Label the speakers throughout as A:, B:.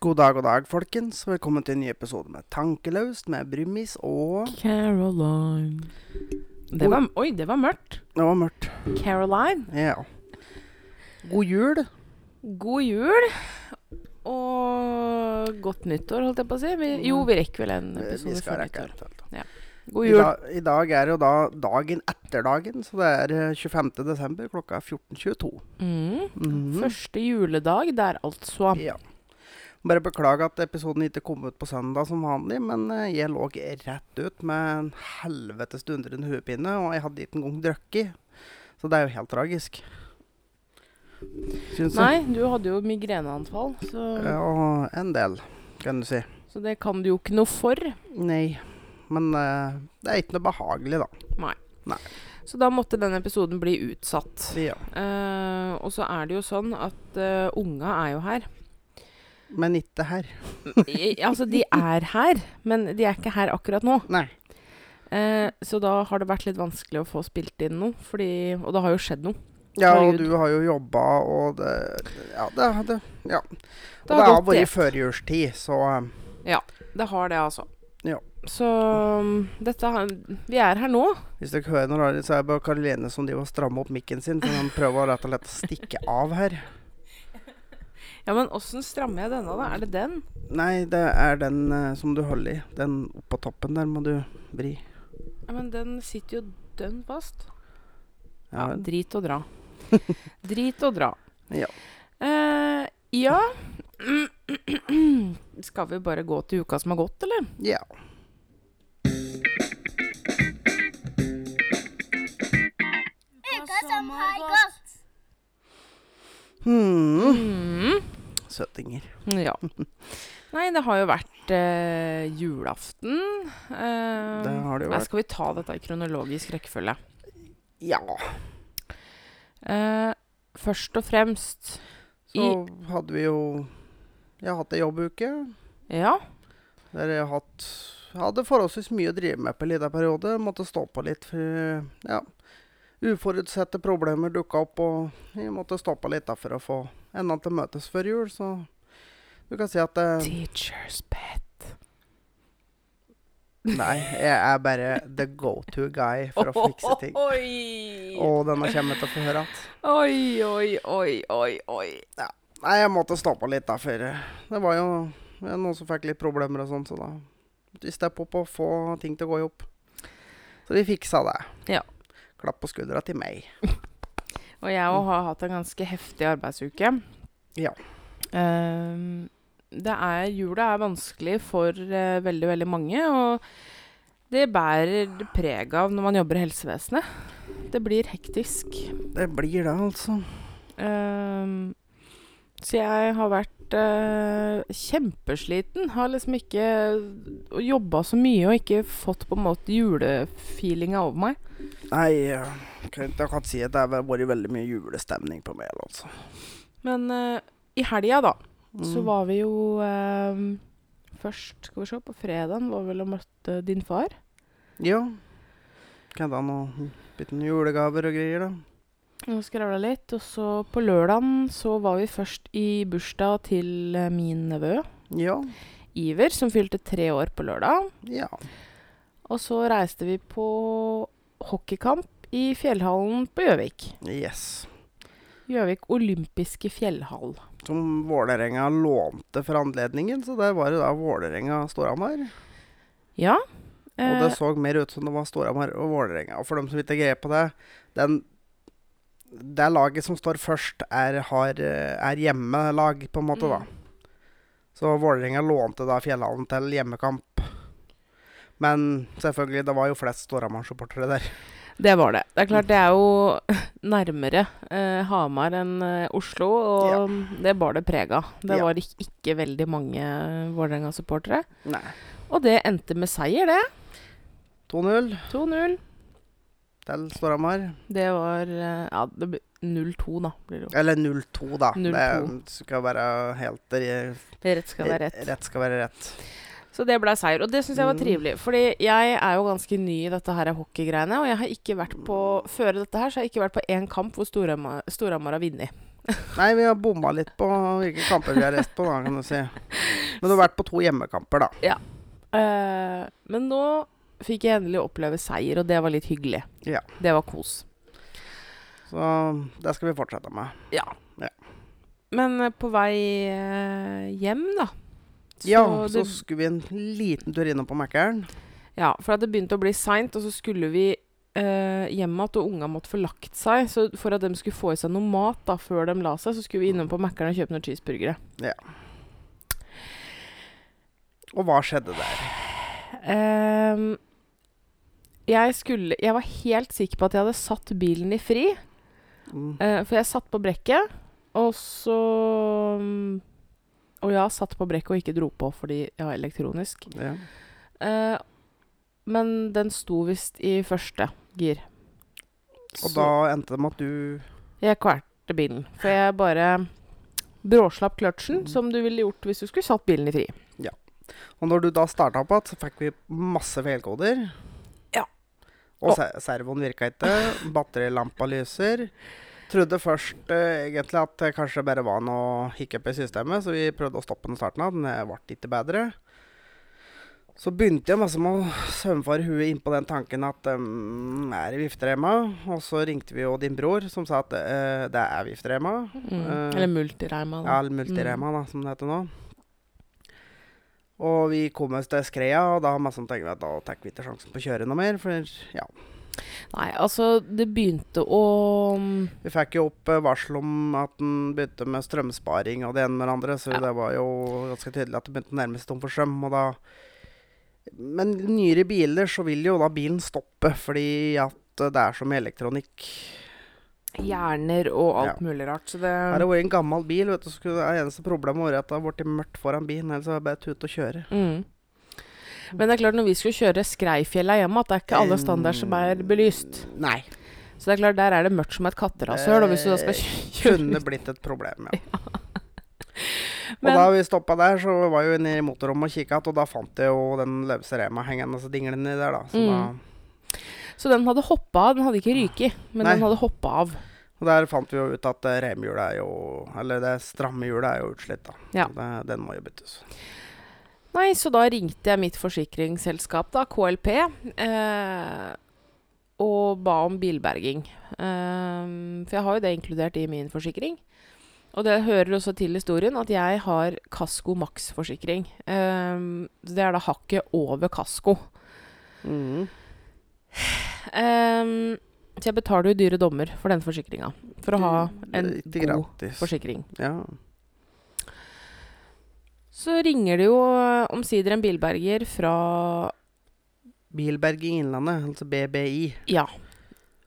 A: God dag, god dag, folkens. Velkommen til en ny episode med Tankelaust med Brummis og
B: Caroline. Det var, oi, det var mørkt.
A: Det var mørkt.
B: Caroline,
A: Ja. God jul.
B: god jul. Og godt nyttår, holdt jeg på å si. Vi, jo, vi rekker vel en
A: Eh, Vi
B: episode
A: skal
B: før
A: rekke
B: nyttår.
A: alt. alt.
B: God
A: I,
B: jul.
A: dag- I dag er jo da dagen etter dagen, så det er eh, 25. desember klokka 14.22.
B: Mm.
A: Mhm.
B: Første juledag der, altså.
A: Ja. Bare beklage at episoden ikke kom ut på søndag som vanlig, men eh, jeg lå rett ut med en helvetes dundrende hodepine, og jeg hadde ikke engang drukket. Så det er jo helt tragisk. Syns du?
B: Nei, du hadde jo migreneanfall, så,
A: Ja, Eh, og en del, kan du si.
B: så det kan du jo ikke noe for.
A: Nei. Men eh, det er ikke noe behagelig, da.
B: Så da måtte den episoden bli utsatt.
A: Ja.
B: Eh, og så er det jo sånn at eh, unga er jo her.
A: Men ikke her.
B: I, altså, de er her, men de er ikke her akkurat nå.
A: Nei.
B: Eh, så da har det vært litt vanskelig å få spilt inn noe, fordi, og det har jo skjedd noe.
A: Ja, og
B: Herregud.
A: du har jo jobba, og det Ja, det, det ja. Og
B: Det
A: det
B: har
A: har
B: gått i
A: vært
B: ett.
A: førjulstid, så eh,
B: Det har det, altså.
A: Ja.
B: Så um, dette har- Vi er her nå.
A: hvis dere hører noe rart, så er det bare Karoline som driver og strammer opp mikken sin, for han prøver rett og slett å stikke av her.
B: Ja, men åssen strammer jeg denne, da? Er det den?
A: Nei, det er den eh, som du holder i. Den oppå toppen der må du vri.
B: Ja, men den sitter jo dønn fast.
A: Ja,
B: Ja, drit og dra. drit og dra.
A: Ja.
B: Eh, ja. Skal vi bare gå til uka som har gått, eller?
A: Ja.
C: Uka som har gått.
A: Hmm.
B: Mm.
A: Søtinger.
B: Ja. Nei, det har jo vært eh, julaften. Eh,
A: Det har det jo
B: nei,
A: vært.
B: Skal vi ta dette i kronologisk rekkefølge?
A: Ja.
B: Eh, først og fremst
A: Så hadde vi jo Jeg har hatt ei jobbuke.
B: Ja.
A: Der jeg har hatt, hadde forholdsvis mye å drive med på en liten periode. Måtte stå på litt. For, ja, uforutsette problemer dukka opp, og jeg måtte stå på litt da, for å få endene til møtes før jul. Så du kan si at eh, det,
B: Teacher's pet.
A: Nei, jeg er bare the go to guy for å fikse ting.
B: Oi,
A: Og denne kommer jeg til å få høre at
B: oi, oi, oi, oi. oi.
A: Nei, jeg måtte stå på litt, da, for eh, det var jo eh, noen som fikk litt problemer og sånn, så da måtte vi steppe opp og få ting til å gå i hop. Så vi fiksa det.
B: Ja.
A: Klapp på skuldra til meg.
B: Og jeg òg har hatt en ganske heftig arbeidsuke.
A: Ja.
B: Ehm, det er, jula er vanskelig for eh, veldig, veldig mange, og det bærer preg av når man jobber i helsevesenet. Det blir hektisk.
A: Det blir det, altså.
B: Ehm, så jeg har vært eh, kjempesliten. Har liksom ikke jobba så mye og ikke fått på en måte julefeelinga over meg.
A: Nei, eh, kan, jeg kan si at det har vært veldig mye julestemning på meg, altså.
B: Men eh, i helga, da, så
A: Mm.
B: var vi jo ehm, Først, skal vi se, på fredagen var vel og møtte din far.
A: Ja. Kan da noen hm, bitte noen julegaver og greier, da.
B: Og skravla litt. Og så på lørdagen så var vi først i bursdag til eh, min nevø
A: Ja.
B: Iver, som fylte tre år på lørdag.
A: Ja.
B: Og så reiste vi på hockeykamp i fjellhallen på Gjøvik.
A: Yes.
B: Gjøvik olympiske fjellhall.
A: Som Vålerenga lånte for anledningen, så der var det da Vålerenga Storhamar.
B: Ja.
A: Og
B: eh,
A: det så mer ut som det var Storhamar og Vålerenga. Og for dem som ikke greier på det, den det laget som står først, er, har, eh, er hjemmelag, på en måte, da.
B: Mm.
A: Så Vålerenga lånte da Fjellhallen til hjemmekamp. Men selvfølgelig, det var jo flest Storhamar-supportere der.
B: Det var det. Det er klart det er jo nærmere eh, Hamar enn eh, Oslo, og det bar det preg av. Det
A: Ja.
B: var ikke, ikke veldig mange eh, Vålerenga-supportere.
A: Nei.
B: Og det endte med seier, det.
A: 2-0
B: 2-0.
A: til Storhamar.
B: Det var eh, Ja, det ble 0-2, da. Blir det jo.
A: Eller 0-2, da.
B: 0-2.
A: Det skal være helt re-
B: Rett skal være rett.
A: Rett skal være rett.
B: Så det ble seier, og det syns jeg var
A: Mm.
B: trivelig. Fordi jeg er jo ganske ny i dette her hockeygreiene, og jeg har ikke vært på Før dette her så har jeg ikke vært på én kamp hvor Storhamar Storhamar har vunnet.
A: Nei, vi har bomma litt på hvilke kamper vi har reist på, da, kan du si. Men du har vært på to hjemmekamper, da.
B: Eh, men nå fikk jeg endelig oppleve seier, og det var litt hyggelig.
A: Ja.
B: Det var kos.
A: Så det skal vi fortsette med.
B: Ja.
A: Ja.
B: Men eh, på vei eh, hjem, da så
A: ja, så
B: det,
A: skulle vi en liten tur innom på Mækkern.
B: ja, for at det begynte å bli seint, og så skulle vi eh, hjem igjen, og unga måtte få lagt seg. Så for at de skulle få i seg noe mat da, før de la seg, så skulle vi innom på Mækkern og kjøpe noen cheeseburgere.
A: Og hva skjedde der?
B: Ehm, jeg skulle Jeg var helt sikker på at jeg hadde satt bilen i fri.
A: Mm.
B: Eh, for jeg satt på brekket, og så mm, Og ja, satt på brekket og ikke dro på fordi jeg var elektronisk.
A: Ja.
B: Eh, men den sto visst i første gir.
A: Og da endte det med at du
B: Jeg kvalte bilen. For jeg bare bråslapp kløtsjen, som du ville gjort hvis du skulle satt bilen i fri.
A: Og når du da starta opp igjen, så fikk vi masse feilkoder.
B: Ja.
A: Og
B: Og-
A: se servoen virka ikke. Batterilampa lyser. Trodde først eh, egentlig at det kanskje bare var noe hiccup i systemet, så vi prøvde å stoppe den i starten av. Den eh, ble ikke bedre. Så begynte jeg masse med å svømmefare huet inn på den tanken at um, er det vifterema? Og så ringte vi jo din bror, som sa at eh, det er vifterema.
B: Mm.
A: Eh,
B: Eller multireima. da.
A: Ja, mm. eller Multirema, da, som det heter nå. Og vi kom oss til skreia, og da masse tenkte vi at da tar vi ikke sjansen på å kjøre noe mer. For ja,
B: Nei, altså, det begynte å mm,
A: vi fikk jo opp eh, varsel om at den begynte med strømsparing og det ene med det andre, så
B: Ja.
A: det var jo ganske tydelig at det begynte å nærme seg tom for strøm. Og da Men i nyere biler så vil jo da bilen stoppe, fordi at eh, det er så mye elektronikk.
B: Hjerner og alt
A: Ja.
B: mulig rart. Så det
A: Her har vært en gammel bil, vet du, så skulle det eneste problemet vært at det har blitt mørkt foran bilen, ellers er det bare tut og kjøre.
B: Mm. Men det er klart når vi skulle kjøre Skreifjellet hjemme, at det er ikke alle standarder som er belyst.
A: Mm. Nei.
B: Så det er klart der er det mørkt som et katterasshøl. Og hvis du da skal
A: Eh,
B: kjø-
A: kunne blitt et problem, ja.
B: Men-
A: og da vi stoppa der, så var jeg jo inne i motorrommet og kikka, og da fant jeg jo den løse rema hengende og dinglende der, da. Så
B: Mm. Så den hadde hoppa av. Den hadde ikke ryket, men
A: Nei.
B: den hadde hoppa av.
A: da og der fant vi jo ut at eh, remhjulet er jo Eller det stramme hjulet er jo utslitt, da.
B: Ja.
A: Så Det, den må jo byttes.
B: Nei, så da ringte jeg mitt forsikringsselskap, da, KLP, eh, og ba om bilberging. Ehm, for jeg har jo det inkludert i min forsikring. Og det hører også til historien at jeg har Kasko Max-forsikring. Ehm, det er da hakket over Kasko. Mm.
A: Mhm.
B: Ehm, så jeg betaler jo dyre dommer for den forsikringa. For å ha
A: Mm,
B: en
A: Ikke
B: god
A: gratis.
B: forsikring.
A: Ja.
B: Så ringer det jo eh, omsider en bilberger fra
A: Bilberging Innlandet, altså BBI.
B: Ja.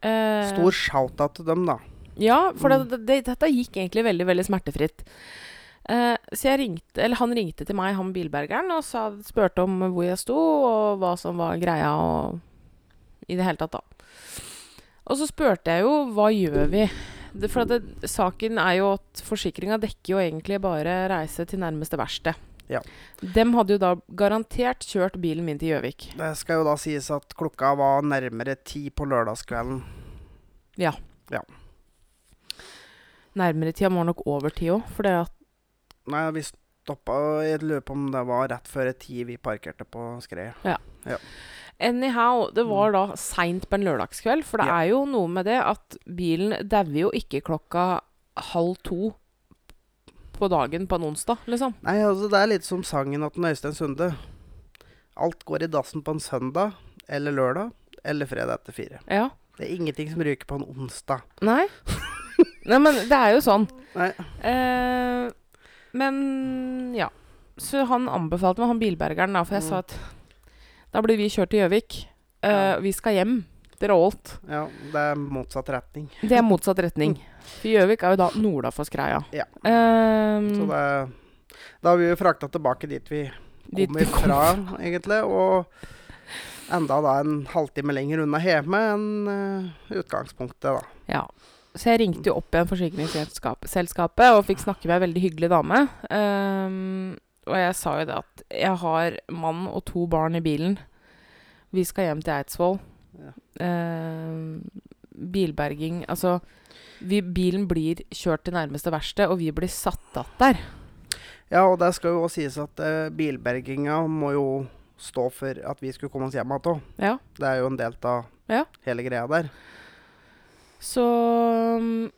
B: Eh,
A: Stor shout-out til dem, da.
B: Ja, for
A: Mm.
B: det, det, dette gikk egentlig veldig, veldig smertefritt. Eh, så jeg ringte, eller han ringte til meg, han bilbergeren, og sa, spurte om hvor jeg sto, og hva som var greia, og i det hele tatt, da. Og så spurte jeg jo, hva gjør vi? Det, for at det, saken er jo at forsikringa dekker jo egentlig bare reise til nærmeste verksted.
A: Ja.
B: Dem hadde jo da garantert kjørt bilen min til Gjøvik.
A: Det skal jo da sies at klokka var nærmere ti på lørdagskvelden.
B: Nærmere tida var nok over ti òg, for det at
A: Nei, vi stoppa Jeg lurer på om det var rett før ti vi parkerte på skredet.
B: Anyhow, det var da seint på en lørdagskveld, for det
A: Mm. Ja.
B: er jo noe med det at bilen dauer jo ikke klokka halv to på dagen på en onsdag, liksom.
A: Nei, altså det er litt som sangen at den Øystein Sunde. Alt går i dassen på en søndag eller lørdag eller fredag etter fire.
B: Ja.
A: Det er ingenting som ryker på en onsdag.
B: Nei. Nei, men det er jo sånn.
A: Nei.
B: Eh, men ja. Så han anbefalte meg, han bilbergeren, da, for jeg
A: Mm.
B: sa at da blir vi kjørt til Gjøvik. Eh,
A: Ja.
B: Vi skal hjem til Rålt.
A: Ja, det er motsatt retning.
B: Det er motsatt retning. For Gjøvik er jo da nordafor skreia.
A: Mm. Ja.
B: Eh,
A: Så det Da har vi jo frakta tilbake dit vi
B: dit
A: kom
B: vi kom
A: ifra, egentlig. Og enda da en halvtime lenger unna hjemme enn eh, utgangspunktet, da.
B: Ja. Så jeg ringte jo opp igjen forsikringsselskapet og fikk snakke med ei veldig hyggelig dame. Ehm, og jeg sa jo det at jeg har mann og to barn i bilen. Vi skal hjem til Eidsvoll.
A: Ja.
B: Ehm, bilberging Altså, vi, bilen blir kjørt til nærmeste verksted, og vi blir satt att der.
A: Ja, og det skal jo også sies at eh, bilberginga må jo stå for at vi skulle komme oss hjem igjen òg.
B: Ja.
A: Det er jo en del av
B: Ja.
A: hele greia der.
B: Så mm,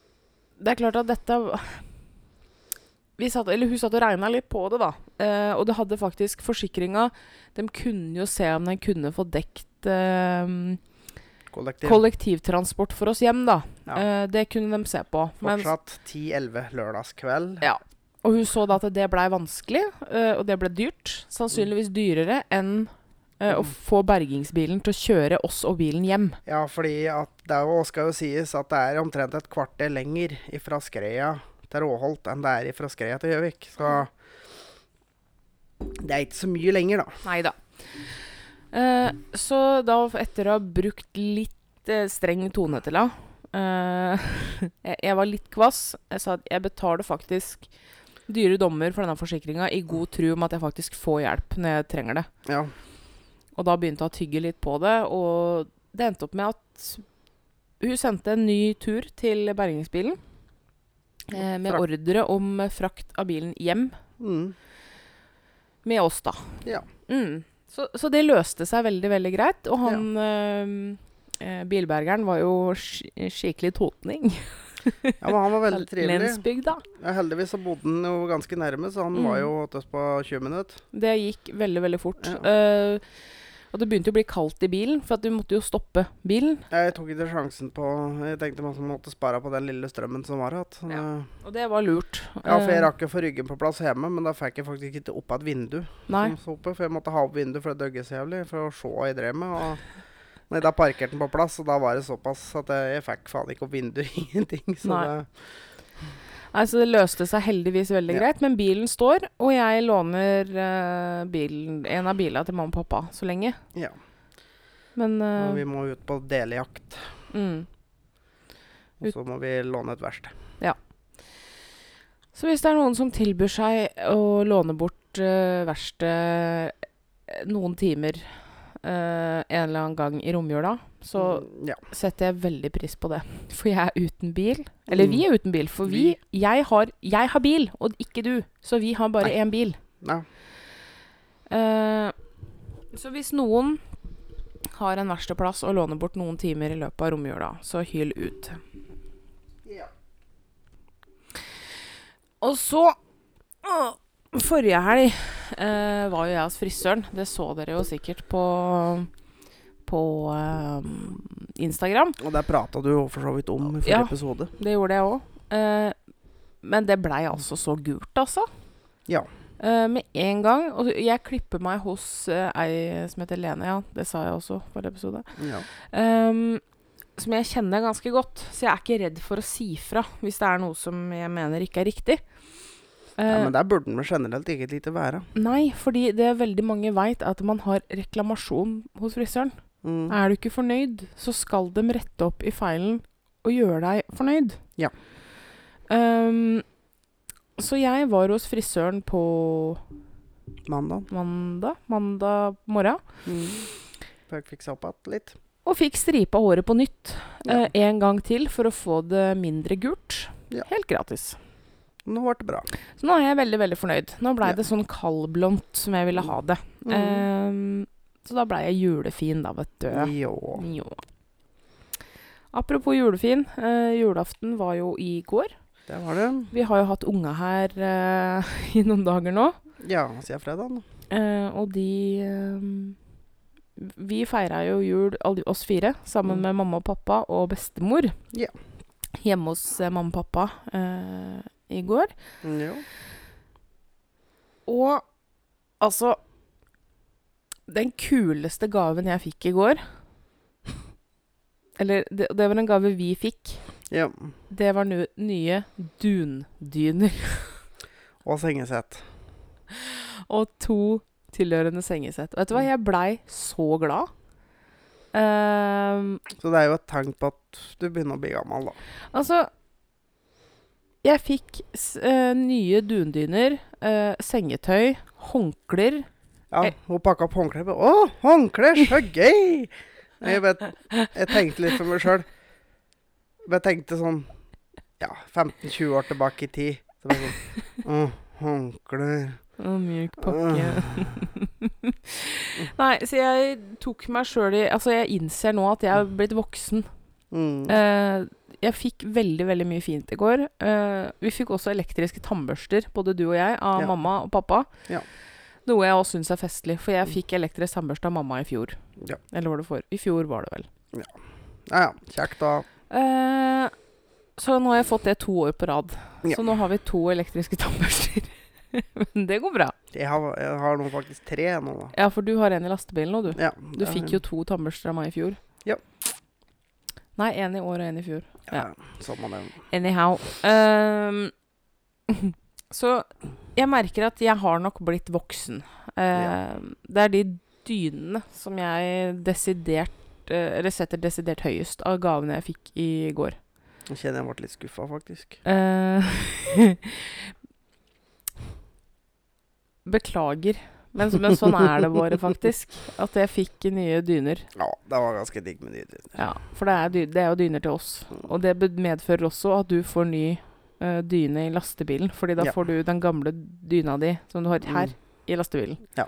B: det er klart at dette vi satt, eller Hun satt og regna litt på det, da. Eh, og det hadde faktisk forsikringa De kunne jo se om den kunne få dekt eh,
A: Kollektiv.
B: kollektivtransport for oss hjem, da.
A: Ja.
B: Eh, det kunne de se på. Men,
A: Fortsatt 10-11 lørdagskveld.
B: Ja. og hun så da at det blei vanskelig, eh, og det ble dyrt. Sannsynligvis dyrere enn eh,
A: Mm.
B: å få bergingsbilen til å kjøre oss og bilen hjem.
A: Ja, fordi at det er jo, skal jo sies at det er omtrent et kvarter lenger fra Skreia til Råholt enn det er fra Skreia til Gjøvik. Så det er ikke så mye lenger, da.
B: Nei da. Eh, så da, etter å ha brukt litt eh, streng tone til henne eh, jeg, jeg var litt kvass. Jeg sa at jeg betaler faktisk dyre dommer for denne forsikringa i god tro om at jeg faktisk får hjelp når jeg trenger det.
A: Ja.
B: Og da begynte hun å tygge litt på det, og det endte opp med at hun sendte en ny tur til bergingsbilen. eh, Med
A: Frakt.
B: ordre om eh, frakt av bilen hjem
A: Mm.
B: med oss, da.
A: Ja.
B: Mm. Så, så det løste seg veldig, veldig greit. Og han eh, eh, bilbergeren var jo sk skikkelig totning.
A: ja, men han var veldig trivelig.
B: Lensbygda.
A: Ja, heldigvis så bodde han jo ganske nærme, så han var
B: Mm.
A: jo hos oss på 20 minutter.
B: Det gikk veldig, veldig fort.
A: Ja.
B: Eh, og det begynte å bli kaldt i bilen, for at vi måtte jo stoppe bilen.
A: Jeg tok ikke sjansen på Jeg tenkte man måtte spare på den lille strømmen som var igjen. Sånn,
B: Ja. Og det var lurt.
A: eh, Ja, for jeg
B: Eh,
A: rakk jo å få ryggen på plass hjemme, men da fikk jeg faktisk ikke opp et vindu.
B: Nei.
A: som sto oppe, for jeg måtte ha opp vinduet, for det døgget så jævlig, for å se hva jeg drev med. Og nei, da parkerte den på plass, og da var det såpass at jeg, jeg fikk faen ikke opp vinduet, ingenting. Så
B: Nei.
A: det,
B: Nei, så det løste seg heldigvis veldig
A: Ja.
B: greit, men bilen står, og jeg låner eh, bilen, en av bilene til mamma og pappa så lenge.
A: Ja.
B: Men
A: og
B: eh,
A: vi må ut på delejakt,
B: mm.
A: og så må vi låne et verksted.
B: Så hvis det er noen som tilbyr seg å låne bort uh, verksted noen timer eh, en eller annen gang i romjula, så
A: Mm, ja.
B: setter jeg veldig pris på det. For jeg er uten bil. Eller vi er uten bil, for vi,
A: Mm. Vi.
B: jeg, har, jeg har bil, og ikke du. Så vi har bare
A: Nei.
B: én bil.
A: Nei.
B: Eh, så hvis noen har en verkstedplass og låner bort noen timer i løpet av romjula, så hyl ut.
A: Ja.
B: Og så Åh, Forrige helg eh, var jo jeg hos frisøren. Det så dere jo sikkert på på eh, Instagram.
A: Og der prata du jo for så vidt om i forrige
B: Ja.
A: episode.
B: Det gjorde jeg òg. Eh, men det blei altså så gult, altså.
A: Ja.
B: Eh, med en gang. Og jeg klipper meg hos eh, ei som heter Lene, ja. Det sa jeg også i forrige episode.
A: Ja.
B: Ehm, som jeg kjenner ganske godt. Så jeg er ikke redd for å si fra hvis det er noe som jeg mener ikke er riktig.
A: ja,
B: Eh,
A: men der burde den vel generelt egentlig ikke være.
B: Nei, fordi det veldig mange veit at man har reklamasjon hos frisøren.
A: Mm.
B: Er du ikke fornøyd, så skal de rette opp i feilen og gjøre deg fornøyd.
A: Ja.
B: Ehm, så jeg var hos frisøren på
A: Mandag.
B: mandag, mandag morgen,
A: Mm. Fikk fiksa opp igjen litt.
B: og fikk stripa håret på nytt
A: Ja.
B: eh, en gang til for å få det mindre gult.
A: Ja.
B: Helt gratis.
A: Nå ble det bra.
B: Så nå er jeg veldig, veldig fornøyd. Nå blei
A: Ja.
B: det sånn kaldblondt som jeg ville ha det.
A: Mm.
B: Ehm, så da blei jeg julefin, da, vet du.
A: Jo.
B: Jo. Apropos julefin. Eh, julaften var jo i går.
A: Det var det.
B: Vi har jo hatt unga her eh, i noen dager nå.
A: Ja, siden fredagen.
B: Eh, og de eh, Vi feira jo jul, alle oss fire, sammen
A: Mm.
B: med mamma og pappa og bestemor.
A: Ja.
B: Hjemme hos eh, mamma og pappa eh, i går.
A: Mm, Jo.
B: Og altså Den kuleste gaven jeg fikk i går Eller det, det var en gave vi fikk.
A: Ja.
B: Det var nu, nye dundyner
A: Og sengesett.
B: og to tilhørende sengesett. Vet du hva, jeg blei så glad. Ehm,
A: Så det er jo et tegn på at du begynner å bli gammel, da.
B: altså Jeg fikk s eh, nye dundyner, eh, sengetøy, håndklær.
A: Ja,
B: Hei.
A: Hun pakka opp håndkleet. og bare, Å, håndkle, så gøy! Jeg, vet, jeg tenkte litt for meg sjøl. Men jeg tenkte sånn ja, 15-20 år tilbake i tid. Så var det sånn, «Åh, håndklær.
B: Og mjuk pakke. Nei, så jeg tok meg sjøl i Altså, jeg innser nå at jeg er blitt voksen.
A: Mm.
B: Eh, jeg fikk veldig, veldig mye fint i går. Eh, vi fikk også elektriske tannbørster, både du og jeg, av
A: Ja.
B: mamma og pappa.
A: Ja. Mm.
B: Noe jeg også syns er festlig, for jeg fikk elektrisk tannbørste av mamma i fjor.
A: Ja.
B: Eller var det for? I fjor var det vel.
A: Ja, ja. Kjekt, da.
B: Eh, så nå har jeg fått det to år på rad.
A: Ja.
B: Så nå har vi to elektriske tannbørster. Men det går bra.
A: Jeg har, jeg har nå faktisk tre nå, da.
B: Ja, for du har en i lastebilen nå, du.
A: Ja,
B: Du fikk jo to tannbørster av meg i fjor.
A: Ja.
B: Nei, én i år og én i fjor.
A: ja. Samme det.
B: Anyhow. ehm, så jeg merker at jeg har nok blitt voksen. Ehm, Det er de dynene som jeg desidert eh, Eller setter desidert høyest av gavene jeg fikk i går.
A: Nå kjenner jeg ble litt skuffa, faktisk.
B: Eh, Beklager. Men, så- men sånn er det bare, faktisk. At jeg fikk nye dyner.
A: Ja, det var ganske digg med de dyrene.
B: Ja, for det er, dy det er jo dyner til oss. Og det be- medfører også at du får ny eh, dyne i lastebilen. Fordi da
A: Ja. Mm.
B: får du den gamle dyna di som du har her, i lastebilen.
A: Ja.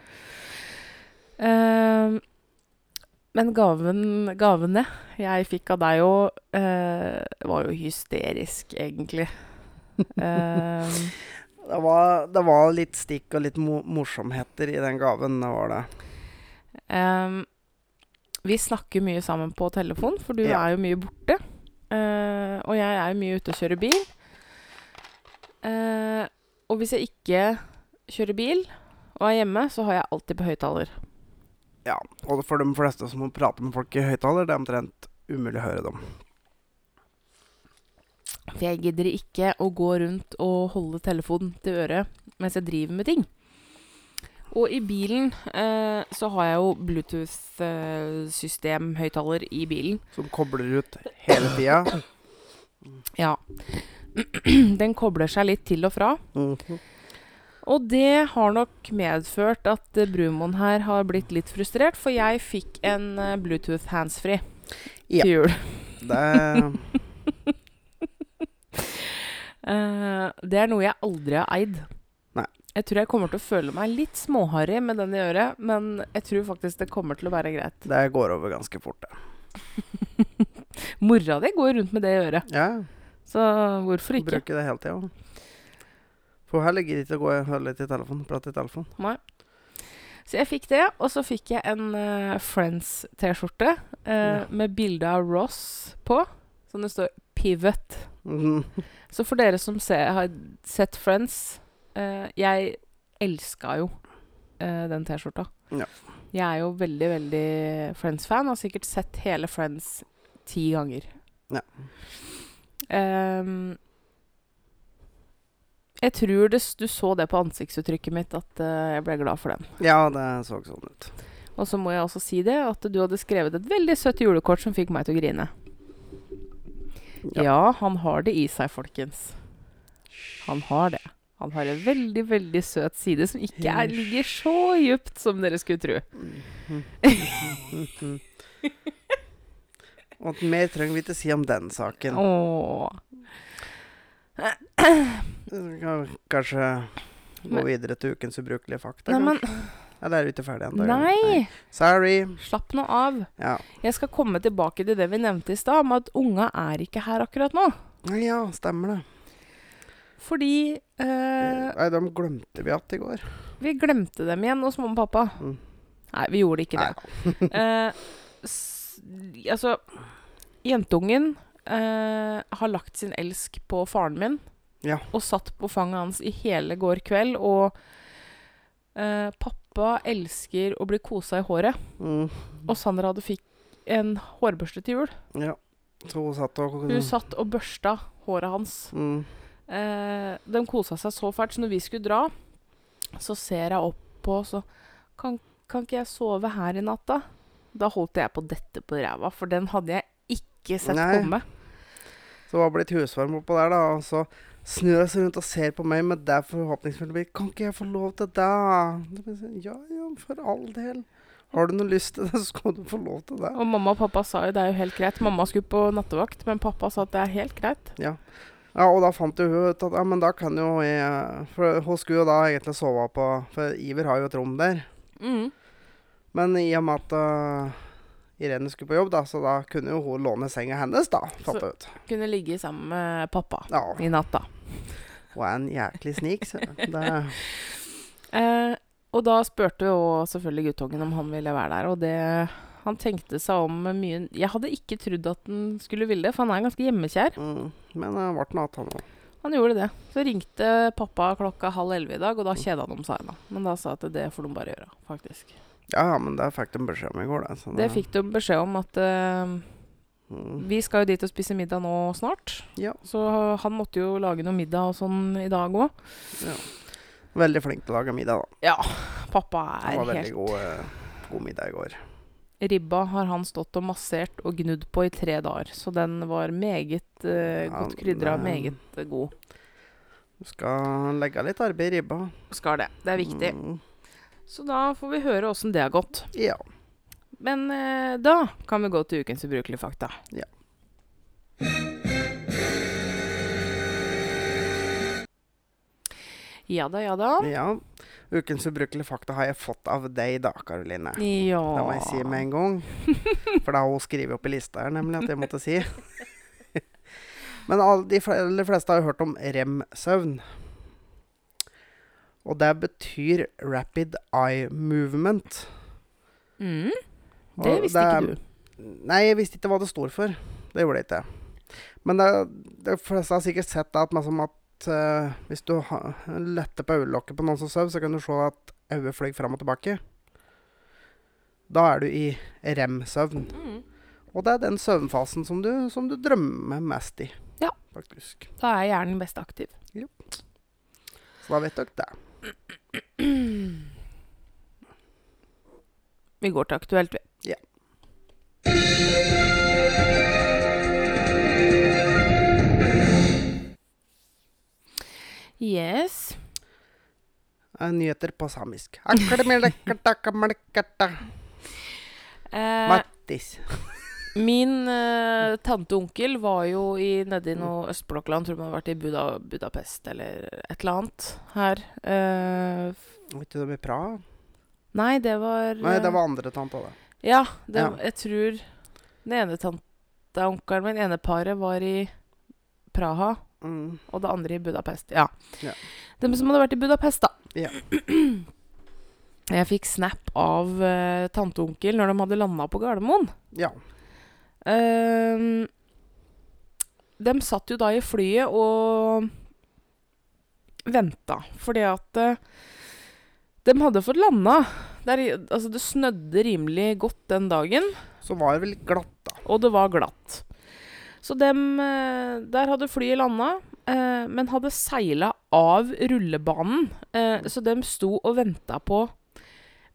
B: Ehm, men gaven, gavene jeg fikk av deg jo, eh, var jo hysterisk, egentlig. Ehm,
A: Det var, det var litt stikk og litt mo morsomheter i den gaven, det var det.
B: Ehm, vi snakker mye sammen på telefon, for du
A: Ja.
B: er jo mye borte. Eh, og jeg er jo mye ute og kjører bil. Eh, og hvis jeg ikke kjører bil og er hjemme, så har jeg alltid på høyttaler.
A: Ja, og for de fleste som må prate med folk i høyttaler, det er omtrent umulig å høre dem.
B: For jeg gidder ikke å gå rundt og holde telefonen til øret mens jeg driver med ting. Og i bilen eh, så har jeg jo Bluetooth-system-høyttaler i bilen.
A: Som kobler ut hele tida.
B: Ja. Den kobler seg litt til og fra. Og det har nok medført at eh, Brumoen her har blitt litt frustrert, for jeg fikk en eh, Bluetooth handsfree
A: Ja.
B: til jul.
A: Det
B: Eh, det er noe jeg aldri har eid.
A: Nei.
B: Jeg tror jeg kommer til å føle meg litt småharry med den i øret, men jeg tror faktisk det kommer til å være greit.
A: Det går over ganske fort, det.
B: Mora di går rundt med det i øret,
A: Ja,
B: så hvorfor ikke?
A: Bruker det hele tida. For her ligger det ikke å gå og høre litt i telefonen, prate i telefonen.
B: Så jeg fikk det, og så fikk jeg en eh, Friends-T-skjorte eh,
A: Ja.
B: med bilde av Ross på, som det står 'Pivot'.
A: Mhm.
B: Så for dere som ser, har sett Friends eh, Jeg elska jo eh, den T-skjorta.
A: Ja.
B: Jeg er jo veldig, veldig Friends-fan. Har sikkert sett hele Friends ti ganger.
A: Ja.
B: Ehm, jeg tror det, s- du så det på ansiktsuttrykket mitt, at eh, jeg ble glad for den.
A: Ja, det så sånn ut.
B: Og så må jeg også si det, at du hadde skrevet et veldig søtt julekort som fikk meg til å grine.
A: Ja.
B: Ja, han har det i seg, folkens. Han har det. Han har en veldig, veldig søt side som ikke er, ligger så djupt som dere skulle tro.
A: Mhm. Og mer trenger vi ikke si om den saken.
B: Åh.
A: Vi kan Kanskje gå
B: Men-
A: videre til ukens ubrukelige fakta?
B: Nei, men
A: kanskje? Eller er du ikke ferdig ennå?
B: Nei!
A: Sorry.
B: Slapp nå av.
A: Ja.
B: Jeg skal komme tilbake til det vi nevnte i stad, om at unga er ikke her akkurat nå.
A: ja, stemmer det.
B: Fordi eh,
A: Nei, dem glemte vi at i går.
B: vi glemte dem igjen hos mamma og pappa.
A: Mm.
B: Nei, vi gjorde ikke det. Eh, s altså, jentungen eh, har lagt sin elsk på faren min.
A: Ja.
B: Og satt på fanget hans i hele går kveld. Og eh, pappa elsker å bli kosa i håret.
A: Mm.
B: Og Sandra hadde fikk en hårbørste til jul.
A: Ja. Så hun satt og
B: Hun satt og børsta håret hans.
A: Mm.
B: Eh, de kosa seg så fælt, så når vi skulle dra, så ser jeg opp på så kan, kan ikke jeg sove her i natt, da? Da holdt jeg på dette på ræva, for den hadde jeg ikke sett
A: Nei.
B: komme.
A: Så var det blitt husvarm oppå der, da. Og så snur hun seg rundt og ser på meg med det forhåpningsfulle blikket. 'Kan ikke jeg få lov til det?' Da blir jeg sånn, Ja ja, for all del. Har du noe lyst til det, så skal du få lov til det.
B: Og mamma og pappa sa jo det er jo helt greit. Mamma skulle på nattevakt, men pappa sa at det er helt greit.
A: Ja, og da fant jo hun ut at ja, men da kan jo jeg For hun skulle jo da egentlig sove på For Iver har jo et rom der.
B: Mm.
A: Men i og med at eh, Irene skulle på jobb, da, så da kunne jo hun låne senga hennes, da. Fant hun ut.
B: Kunne ligge sammen med pappa
A: Ja,
B: i natt, da.
A: hun er en jæklig snik. Så det,
B: Eh, og da spurte jo selvfølgelig guttungen om han ville være der, og det han tenkte seg om mye Jeg hadde ikke trodd at han skulle ville det, for han er ganske hjemmekjær.
A: mm, men det ble noe av han òg.
B: Han gjorde det. Så ringte pappa klokka halv elleve i dag,
A: Mm.
B: og da kjeda de seg ennå. Men da sa jeg at det får de bare gjøre, faktisk.
A: Ja, ja, men det fikk de beskjed om i går, det. Så
B: Det fikk de beskjed om at eh,
A: mm,
B: vi skal jo dit og spise middag nå snart.
A: Ja.
B: Så han måtte jo lage noe middag og sånn i dag òg.
A: Veldig flink til å lage middag, da.
B: Ja, pappa
A: Det
B: er
A: var veldig
B: helt
A: god, eh, god middag i går.
B: Ribba har han stått og massert og gnudd på i tre dager, så den var meget eh,
A: Ja,
B: godt krydra,
A: det-
B: meget eh, god.
A: Du skal legge litt arbeid i ribba.
B: Skal det. Det er viktig.
A: Mm,
B: Så da får vi høre åssen det har gått.
A: ja.
B: Men eh, da kan vi gå til ukens ubrukelige fakta.
A: Ja.
B: Ja da, ja da.
A: ja. Ukens ubrukelige fakta har jeg fått av deg da, Karoline.
B: Ja.
A: Det må jeg si med en gang. For det har hun skrevet opp i lista her, nemlig, at jeg måtte si. Men alle, de fle- aller fleste har jo hørt om REM-søvn. Og det betyr rapid eye movement.
B: Mm.
A: Og
B: Det visste
A: er-
B: ikke du.
A: Nei, jeg visste ikke hva det står for. Det gjorde jeg ikke. Men det, de fleste har sikkert sett det at, liksom at eh, hvis du ha, letter på øyelokket på noen som sover, så kan du se at øyet fløy fram og tilbake. Da er du i rem-søvn.
B: Mm.
A: Og det er den søvnfasen som du, som du drømmer mest i.
B: Ja.
A: Faktisk.
B: Da er hjernen best aktiv.
A: Så da vet dere det.
B: Vi går til aktuelt, vi.
A: Ja.
B: Yes.
A: Eh, Nyheter på samisk. Akkademelekkatakkamelekkatta.
B: Eh,
A: Mattis.
B: min eh, tante og onkel var jo i, nede i noe østblokkland, tror de hadde vært i Buda, Budapest eller et eller annet her. Eh, f-
A: Vet du om i Praha?
B: nei, det var
A: Nei, det
B: eh,
A: var andre tanta, det.
B: Ja, det,
A: Ja.
B: jeg tror den ene tante og onkelen min, ene paret, var i Praha,
A: Mm.
B: og det andre i Budapest. Ja.
A: Ja.
B: Dem som hadde vært i Budapest, da.
A: Ja.
B: Jeg fikk snap av eh, tante og onkel når de hadde landa på Gardermoen.
A: Ja.
B: Ehm, de satt jo da i flyet og venta, fordi at eh, de hadde fått landa. Der, i- altså, det snødde rimelig godt den dagen.
A: Så var det vel litt glatt, da.
B: Og det var glatt. Så dem, eh, der hadde flyet landa, eh, men hadde seila av rullebanen. Eh, så dem sto og venta på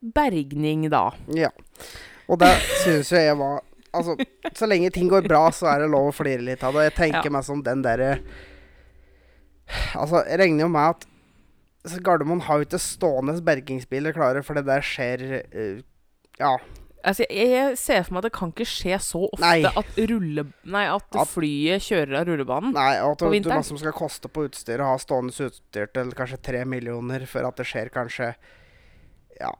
B: bergning da.
A: Ja. Og det syns jo jeg var Altså, så lenge ting går bra, så er det lov å flire litt av det. Jeg tenker
B: Ja.
A: meg som den derre Altså, jeg regner jo med at så Gardermoen har jo ikke stående bergingsbiler klare, for det der skjer eh, Ja.
B: Altså, jeg, jeg ser for meg at det kan ikke skje så ofte
A: Nei.
B: at, rulle, nei, at
A: At-
B: flyet kjører av rullebanen.
A: Nei, og at
B: På
A: du- du
B: vinteren?
A: masse som skal koste på utstyr, og ha stående utstyr til kanskje tre millioner, for at det skjer kanskje ja,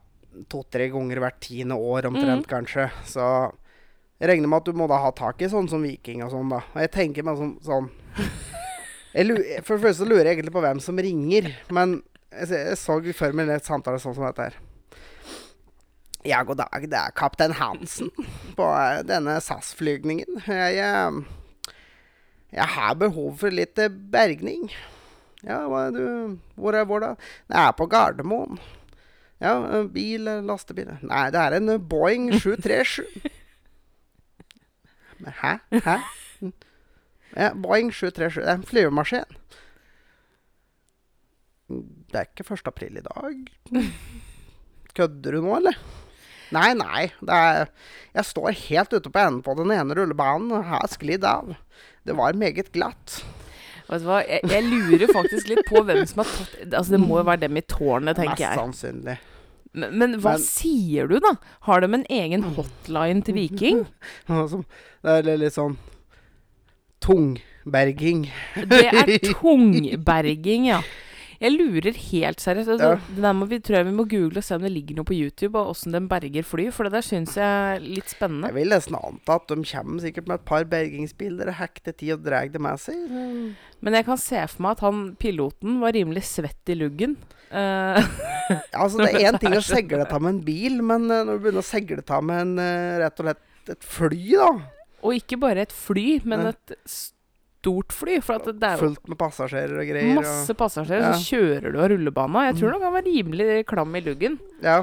A: to-tre ganger hvert tiende år omtrent, kanskje. Så jeg regner med at du må da ha tak i sånn som Viking og sånn, da. Og jeg tenker meg sånn, sånn jeg lu- For det første lurer jeg egentlig på hvem som ringer, men jeg, se- jeg så før min et samtale sånn som dette her. Ja, god dag, det er kaptein Hansen på eh, denne SAS-flygningen. Jeg eh, jeg har behov for litt eh, bergning. Ja, hva er du Hvor er hvor da? Nei, Jeg er på Gardermoen. Ja, eh, bil, eh, lastebil Nei, det er en eh, Boeing 737. Men hæ? Hæ? Mm. Ja, Boeing 737. Det er en flyvemaskin. Det er ikke 1. april i dag. Kødder du nå, eller? Nei, nei. Det er, jeg står helt ute på enden på den ene rullebanen og har sklidd av. Det var meget glatt.
B: Vet du hva, jeg, jeg lurer faktisk litt på hvem som har tatt Altså, det må jo være dem i tårnet, tenker
A: Mest
B: jeg.
A: sannsynlig.
B: Men, men hva
A: Men-
B: sier du, da? Har de en egen hotline til Viking?
A: Ja, som- Det er litt sånn tungberging.
B: Det er tungberging, ja. Jeg lurer helt seriøst. Altså,
A: Ja.
B: Det der må vi, tror jeg vi må google og se om det ligger noe på YouTube av åssen den berger fly, for det der syns jeg er litt spennende.
A: Jeg vil nesten anta at de kommer sikkert med et par bergingsbiler og hekter tid og drar det med seg. Men
B: Men jeg kan se for meg at han piloten var rimelig svett i luggen. Eh,
A: Altså, det er én ting å segle av med en bil, men eh, når du begynner å segle av med en, eh, rett og slett et fly, da,
B: og ikke bare et fly, men
A: Ja.
B: et stort fly. For at det er jo
A: fullt med passasjerer og greier
B: masse passasjerer,
A: Ja. Mm.
B: så kjører du av rullebana. Jeg tror nok han var rimelig klam i luggen.
A: og Ja.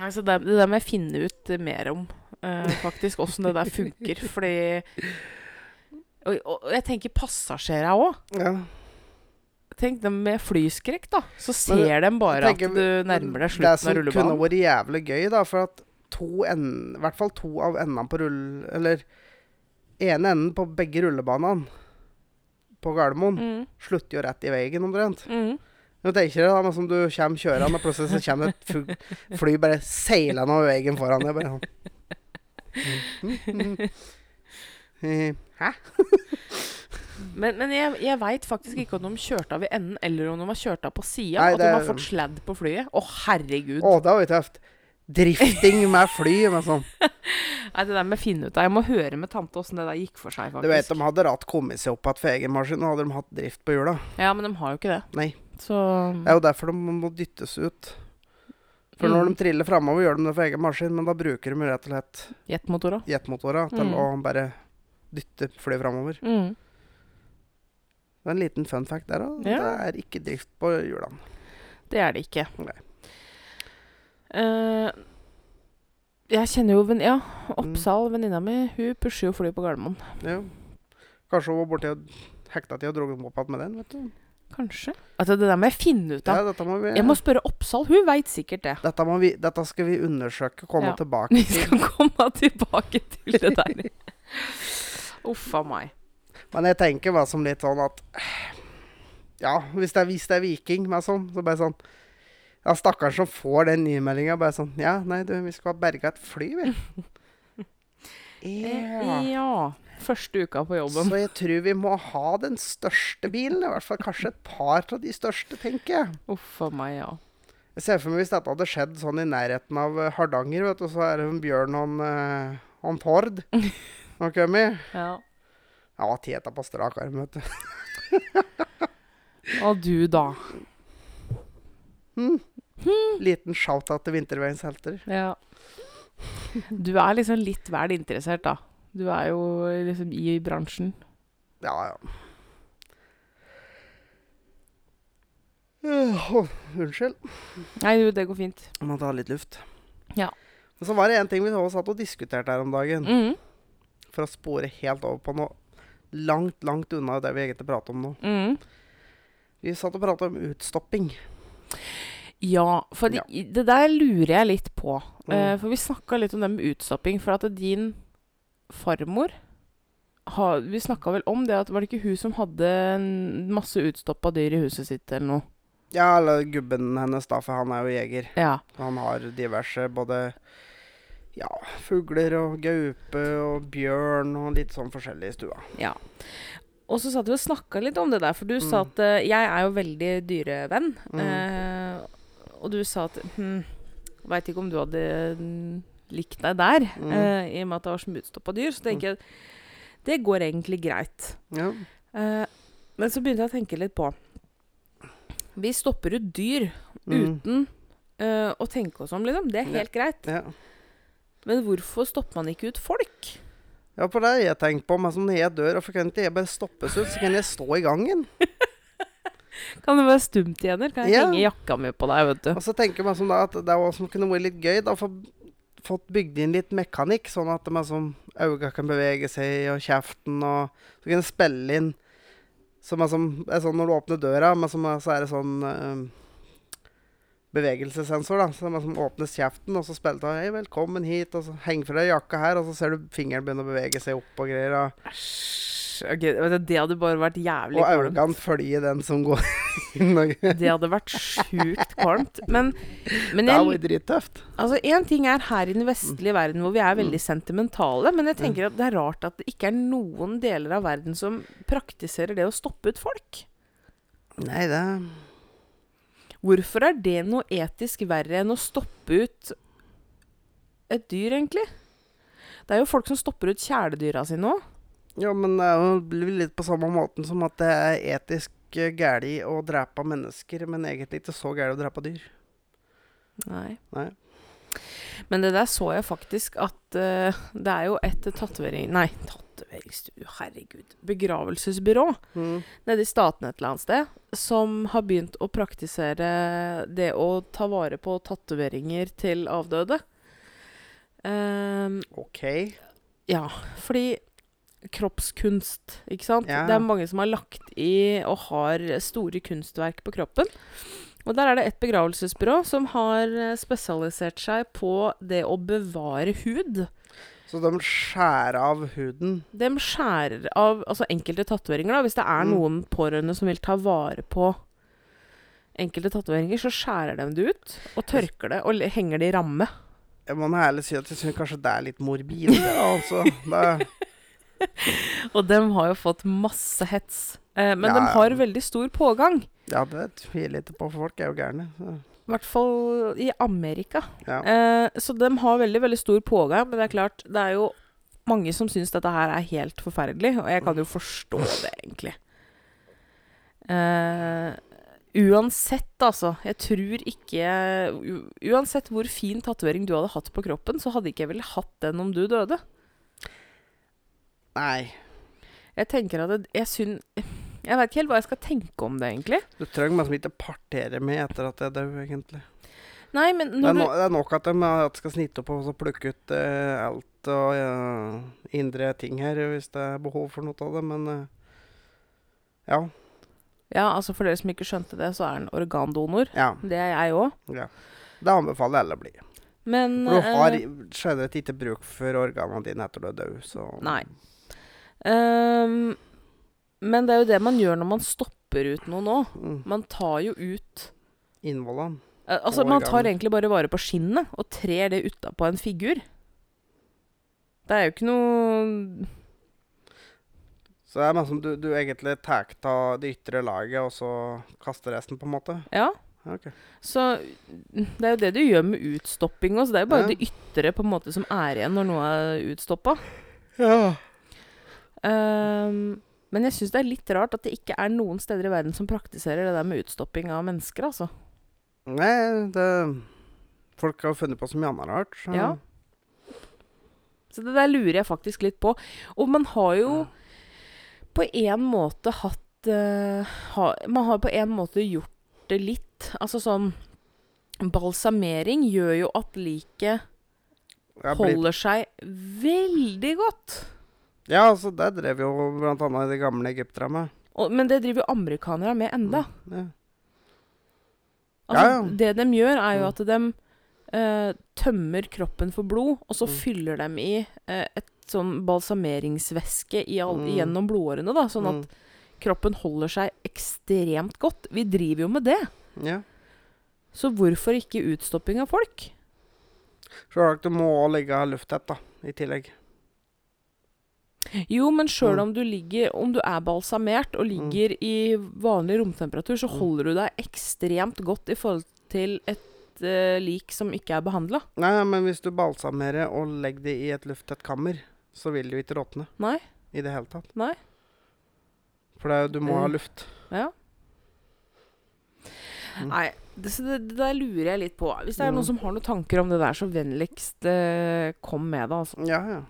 B: Altså det, det der må jeg finne ut eh, mer om, eh, faktisk, åssen det der funker. Fordi og, og og jeg tenker passasjerer òg.
A: ja.
B: Tenk dem med flyskrekk, da. Så
A: Men
B: ser de
A: jeg
B: bare at
A: tenker-
B: du nærmer deg
A: Det
B: slutten
A: som
B: av
A: kunne
B: rullebanen.
A: vært jævlig gøy, da, for at to enden, i hvert fall to av endene på rull... Eller ene enden på begge rullebanene på Gardermoen
B: Mm,
A: slutter jo rett i veien, omtrent.
B: mm.
A: Nå tenker jeg da, men som du kommer kjørende, og plutselig så kommer et fu- fly bare seilende over veien foran deg. Bare sånn. Eh, Hæ?
B: Men, men jeg, jeg veit faktisk ikke om de kjørte av i enden, eller om de var kjørt av på sida.
A: Nei,
B: At
A: det
B: de
A: er-
B: har fått sladd på flyet. Å, herregud.
A: Å, det var jo tøft. Drifting med fly. Men sånn.
B: Nei, det der må jeg finne ut av. Jeg må høre med tante åssen det der gikk for seg,
A: Du vet,
B: faktisk.
A: De hadde rett kommet seg opp igjen for egen maskin, og hadde de hatt drift på hjula.
B: Ja, men de har jo ikke det.
A: Nei.
B: Så
A: Det er jo derfor de må dyttes ut. For når
B: Mm.
A: de triller framover, gjør de det for egen maskin, men da bruker de jo rett og slett
B: Jetmotorer.
A: jetmotorene til
B: Mm.
A: å bare dytte flyet framover.
B: Mm.
A: Det er en liten fun fact der òg. Det
B: Ja.
A: er ikke drift på hjulene.
B: Det er det ikke.
A: Nei.
B: Eh, jeg kjenner jo venn... Ja,
A: Mm.
B: Oppsal, venninna mi, hun pusher jo fly på Gardermoen.
A: Ja. Kanskje hun var borti og hekta til og dro dem opp igjen med den, vet du.
B: Kanskje. Altså, det der må jeg finne ut
A: Ja,
B: av.
A: dette, må vi,
B: Jeg må spørre Oppsal. Hun veit sikkert det.
A: dette, må vi, dette skal vi undersøke, komme
B: Ja.
A: tilbake
B: Vi
A: til.
B: skal komme tilbake til det der. Uff a meg.
A: Men jeg tenker bare som litt sånn at Ja, hvis det er, hvis det er viking, meg sånn, så bare sånn Ja, stakkaren som får den nymeldinga, bare sånn Ja, nei, du, vi skal berge et fly, vi. Ja.
B: Eh, ja. Første uka på jobben.
A: Så jeg tror vi må ha den største bilen. I hvert fall kanskje et par av de største, tenker jeg.
B: Uff a meg, ja.
A: Jeg ser for meg hvis dette hadde skjedd sånn i nærheten av eh, Hardanger, vet du, så er det en bjørn og en, eh, og en tord. Nå kommer jeg.
B: ja.
A: Jeg var teta på strak arm, vet du.
B: Og du, da?
A: Liten shout-out til Vinterveiens helter.
B: Ja. Du er liksom litt vel interessert, da. Du er jo liksom i bransjen.
A: Ja, ja. Øh, åh, unnskyld.
B: Nei, du, det går fint.
A: Jeg må ta litt luft.
B: Ja.
A: Men så var det en ting vi også satt og diskuterte her om dagen,
B: Mm.
A: for å spore helt over på noe langt, langt unna det vi egentlig prater om nå.
B: Mm.
A: Vi satt og pratet om utstopping.
B: Ja, for
A: Ja.
B: i- det der lurer jeg litt på.
A: Mm.
B: Eh, for vi snakka litt om det med utstopping. For at din farmor har, Vi snakka vel om det at var det ikke hun som hadde en masse utstoppa dyr i huset sitt eller noe?
A: Ja, eller gubben hennes, da, for han er jo jeger.
B: Ja.
A: Han har diverse både ja, fugler og gaupe og bjørn og litt sånn forskjellig i stua.
B: ja. Og så satt vi og snakka litt om det der, for du sa
A: Mm.
B: at eh, Jeg er jo veldig dyrevenn.
A: Mm.
B: eh, og du sa at hm, Veit ikke om du hadde mm, likt deg der,
A: Mm.
B: eh, i og med at det var så mye utstoppa dyr. Så tenker jeg det går egentlig greit.
A: Ja.
B: Eh, men så begynte jeg å tenke litt på Vi stopper ut dyr
A: Mm.
B: uten eh, å tenke oss om, liksom. Det er
A: Ja.
B: helt greit.
A: Ja.
B: Men hvorfor stopper man ikke ut folk?
A: ja, for det har jeg tenkt på. Men som når jeg dør, hvorfor kan ikke jeg bare stoppes ut? Så kan jeg stå i gangen.
B: Kan det være stumt igjen, eller kan jeg
A: Ja.
B: henge jakka mi på deg, vet du?
A: Og så tenker man som da at det var som kunne vært litt gøy. da, for Fått bygd inn litt mekanikk, sånn at man som øynene kan bevege seg, og kjeften og Så kan jeg spille inn som er som er sånn Når du åpner døra, men som er, så er det sånn eh, bevegelsessensor, da. Så man som åpnes kjeften, og så spiller du Hei, velkommen hit, og så henger fra deg jakka her, og så ser du fingeren begynne å bevege seg opp og greier. Og
B: Æsj. Æsj. ok, vet du, det hadde bare vært jævlig
A: Og
B: kvalmt.
A: øynene følger den som går inn. og- Det
B: Det hadde vært sjukt kvalmt. Men, men
A: er
B: jeg,
A: jo drittøft.
B: Altså, Én ting er her i den vestlige verden hvor vi er
A: Mm.
B: veldig sentimentale, men jeg tenker at det er rart at det ikke er noen deler av verden som praktiserer det å stoppe ut folk.
A: Nei, det
B: Hvorfor er det noe etisk verre enn å stoppe ut et dyr, egentlig? Det er jo folk som stopper ut kjæledyra sine òg.
A: Ja, men det er jo blir litt på samme måten som at det er etisk eh, gærlig å drepe mennesker, men egentlig ikke så gærlig å drepe dyr.
B: Nei.
A: Nei.
B: Men det der så jeg faktisk at eh, det er jo et tatovering... Nei, tatoveringsstudio, herregud. Begravelsesbyrå
A: Mm.
B: nede i Statene et eller annet sted som har begynt å praktisere det å ta vare på tatoveringer til avdøde. Ehm,
A: OK.
B: ja, fordi kroppskunst, ikke sant?
A: Ja.
B: Det er mange som har lagt i og har store kunstverk på kroppen. Og der er det et begravelsesbyrå som har eh, spesialisert seg på det å bevare hud.
A: Så de skjærer av huden.
B: De skjærer av altså enkelte tatoveringer, da. Hvis det er
A: Mm.
B: noen pårørende som vil ta vare på enkelte tatoveringer, så skjærer de det ut og tørker det og le- henger det i ramme.
A: Jeg må nå ærlig si at jeg syns kanskje det er litt morbid. det, Altså. Det,
B: Og de har jo fått masse hets. Eh, men de
A: Ja.
B: har veldig stor pågang.
A: ja, det tviler jeg ikke på. for Folk er jo gærne. så,
B: I hvert fall i Amerika.
A: Ja.
B: Eh, så de har veldig, veldig stor pågang. Men det er klart, det er jo mange som syns dette her er helt forferdelig, og jeg kan jo forstå det, egentlig. Eh, uansett, altså. Jeg tror ikke u Uansett hvor fin tatovering du hadde hatt på kroppen, så hadde ikke jeg vel hatt den om du døde.
A: Nei.
B: Jeg tenker at det, jeg syn- Jeg veit ikke helt hva jeg skal tenke om det, egentlig.
A: Du trenger meg som ikke partere med etter at jeg dør, egentlig.
B: Nei, men
A: Det er,
B: når du
A: no, det er nok at de eh, at skal snitte opp og så plukke ut eh, alt og eh, indre ting her, hvis det er behov for noe av det, men eh, ja.
B: Ja, altså for dere som ikke skjønte det, så er han organdonor.
A: Ja.
B: Det er jeg òg.
A: ja. Det anbefaler jeg alle å bli.
B: Men
A: For du har
B: eh,
A: i- generelt ikke bruk for organene dine etter du er død, så
B: Nei. Ehm, men det er jo det man gjør når man stopper ut noe nå.
A: Mm.
B: Man tar jo ut
A: Innvollene.
B: eh, Altså,
A: Og
B: man tar
A: organer.
B: egentlig bare vare på skinnet og trer det utapå en figur. Det er jo ikke noe
A: Så det er mer som du, du egentlig tar av det ytre laget, og så kaster resten, på en måte.
B: Ja.
A: Ok.
B: Så det er jo det du gjør med utstopping også. Det er jo bare
A: Ja.
B: det ytre på en måte som er igjen når noe er utstoppa.
A: Ja.
B: Ehm, men jeg syns det er litt rart at det ikke er noen steder i verden som praktiserer det der med utstopping av mennesker, altså.
A: Nei, det Folk har funnet på så mye annet rart. Så.
B: Ja. Så det der lurer jeg faktisk litt på. Og man har jo på en måte hatt eh, ha, Man har på en måte gjort det litt. Altså sånn Balsamering gjør jo at liket
A: Jeg blir-
B: holder seg veldig godt.
A: Ja, altså, det drev jo blant annet de gamle egypterne med.
B: Og, men det driver jo amerikanere med enda.
A: Ja. Mm. Ja,
B: Altså,
A: ja.
B: Det de gjør, er jo
A: Mm.
B: at de eh, tømmer kroppen for blod, og så
A: Mm.
B: fyller de i eh, et sånn balsameringsvæske i all,
A: Mm.
B: gjennom blodårene, da, sånn at
A: Mm.
B: kroppen holder seg ekstremt godt. Vi driver jo med det.
A: Mm, ja.
B: Så hvorfor ikke utstopping av folk?
A: Sjølsagt, du må også ligge lufttett, da, i tillegg.
B: Jo, men sjøl
A: Mm.
B: om du ligger Om du er balsamert og ligger i vanlig romtemperatur, så
A: Mm.
B: holder du deg ekstremt godt i forhold til et eh, lik som ikke er behandla.
A: Nei, men hvis du balsamerer og legger det i et lufttett kammer, så vil det jo ikke råtne.
B: Nei.
A: I det hele tatt.
B: Nei.
A: For det, er jo- du må ha
B: Mm.
A: luft.
B: Ja.
A: Mm.
B: Nei, det, så det, det der lurer jeg litt på. Hvis det er
A: Mm.
B: noen som har noen tanker om det der, så vennligst eh, kom med det, altså.
A: Ja, ja.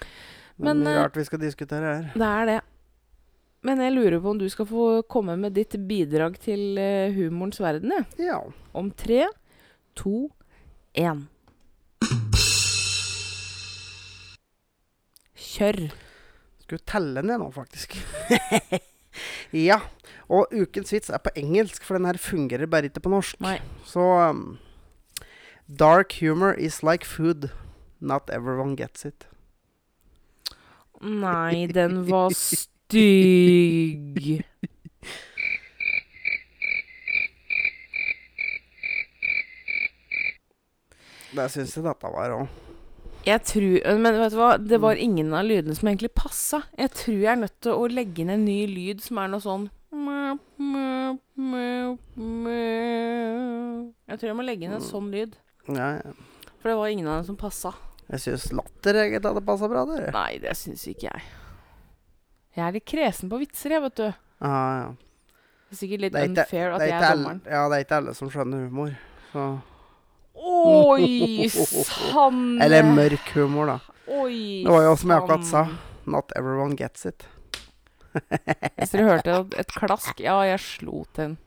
A: Det er
B: Men,
A: mye
B: eh,
A: rart vi skal diskutere her.
B: Det er det. Men jeg lurer på om du skal få komme med ditt bidrag til eh, humorens verden, jeg.
A: Ja.
B: Om tre, to, én. Kjør.
A: Skulle telle ned nå, faktisk. ja. Og ukens vits er på engelsk, for den her fungerer bare ikke på norsk.
B: Nei.
A: Så um, Dark humor is like food. Not everyone gets it.
B: Nei, den var stygg.
A: Det syns jeg dette var òg.
B: Jeg tror Men vet du hva, det var ingen av lydene som egentlig passa. Jeg tror jeg er nødt til å legge inn en ny lyd som er noe sånn Jeg tror jeg må legge inn en sånn lyd.
A: Ja, ja.
B: For det var ingen av dem som passa.
A: Jeg syns latter egentlig hadde passa bra der.
B: Nei, det syns ikke jeg. Jeg er litt kresen på vitser, jeg, vet du.
A: Ja, ja.
B: Det er sikkert litt
A: Det er ikke-
B: unfair at
A: Det er
B: jeg
A: ikke
B: er
A: alle,
B: dommeren.
A: ja, det er ikke alle som skjønner humor. Så.
B: Oi sann!
A: Eller mørk humor, da.
B: Oi,
A: Det var jo som jeg akkurat sa.
B: sann.
A: Not everyone gets it.
B: Hvis dere hørte et- et klask Ja, jeg slo til den.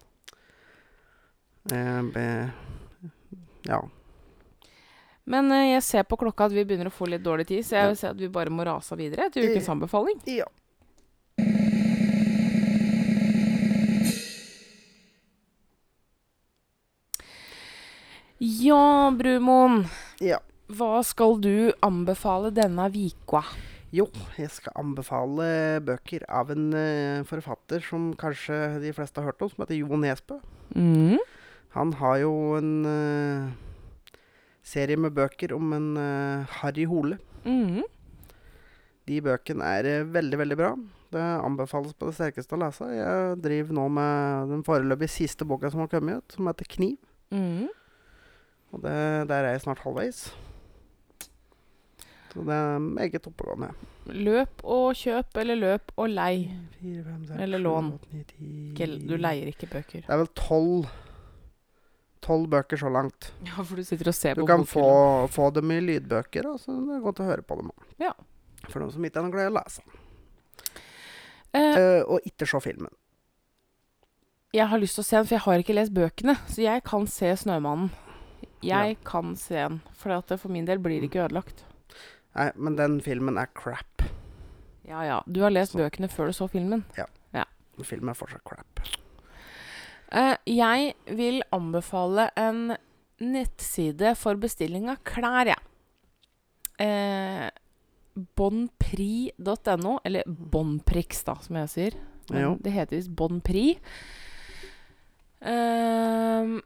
A: Eh, be- ja.
B: Men eh, jeg ser på klokka at vi begynner å få litt dårlig tid, så jeg vil si at vi bare må rase av videre til ukens anbefaling.
A: ja.
B: Ja, Brumoen.
A: Ja.
B: Hva skal du anbefale denne vika?
A: Jo, jeg skal anbefale bøker av en eh, forfatter som kanskje de fleste har hørt om, som heter Jo Nesbø.
B: Mm.
A: Han har jo en eh, serie med bøker om en eh, Harry Hole.
B: Mm.
A: De bøkene er eh, veldig, veldig bra. Det anbefales på det sterkeste å lese. Jeg driver nå med den foreløpig siste boka som har kommet ut, som heter 'Kniv'.
B: Mm.
A: Og det, der er jeg snart halvveis. Så det er meget oppegående.
B: Løp og kjøp, eller løp og lei.
A: Fire, fem, seks,
B: Eller
A: sju,
B: lån.
A: åtte, ni, ti.
B: Ikke, du leier ikke bøker.
A: Det er vel tolv Tolv bøker så langt.
B: Ja, for du sitter og ser
A: Du
B: på
A: kan
B: bokhyllen.
A: få, få dem i lydbøker, og så det er godt å høre på dem også.
B: Ja.
A: For noen som ikke er noe glad i å lese.
B: Eh,
A: Eh, og ikke se filmen.
B: Jeg har lyst til å se den, for jeg har ikke lest bøkene. Så jeg kan se 'Snømannen'. Jeg kan se den, for at det for min del blir det ikke ødelagt.
A: Nei, men den filmen er crap.
B: Ja ja, du har lest bøkene før du så filmen.
A: Filmen er fortsatt crap.
B: Eh, jeg vil anbefale en nettside for bestilling av klær, jeg. Eh, Bonprix.no, eller Bonprix, da, som jeg sier. Men
A: Jo.
B: Det heter visst Bonprix. Ehm,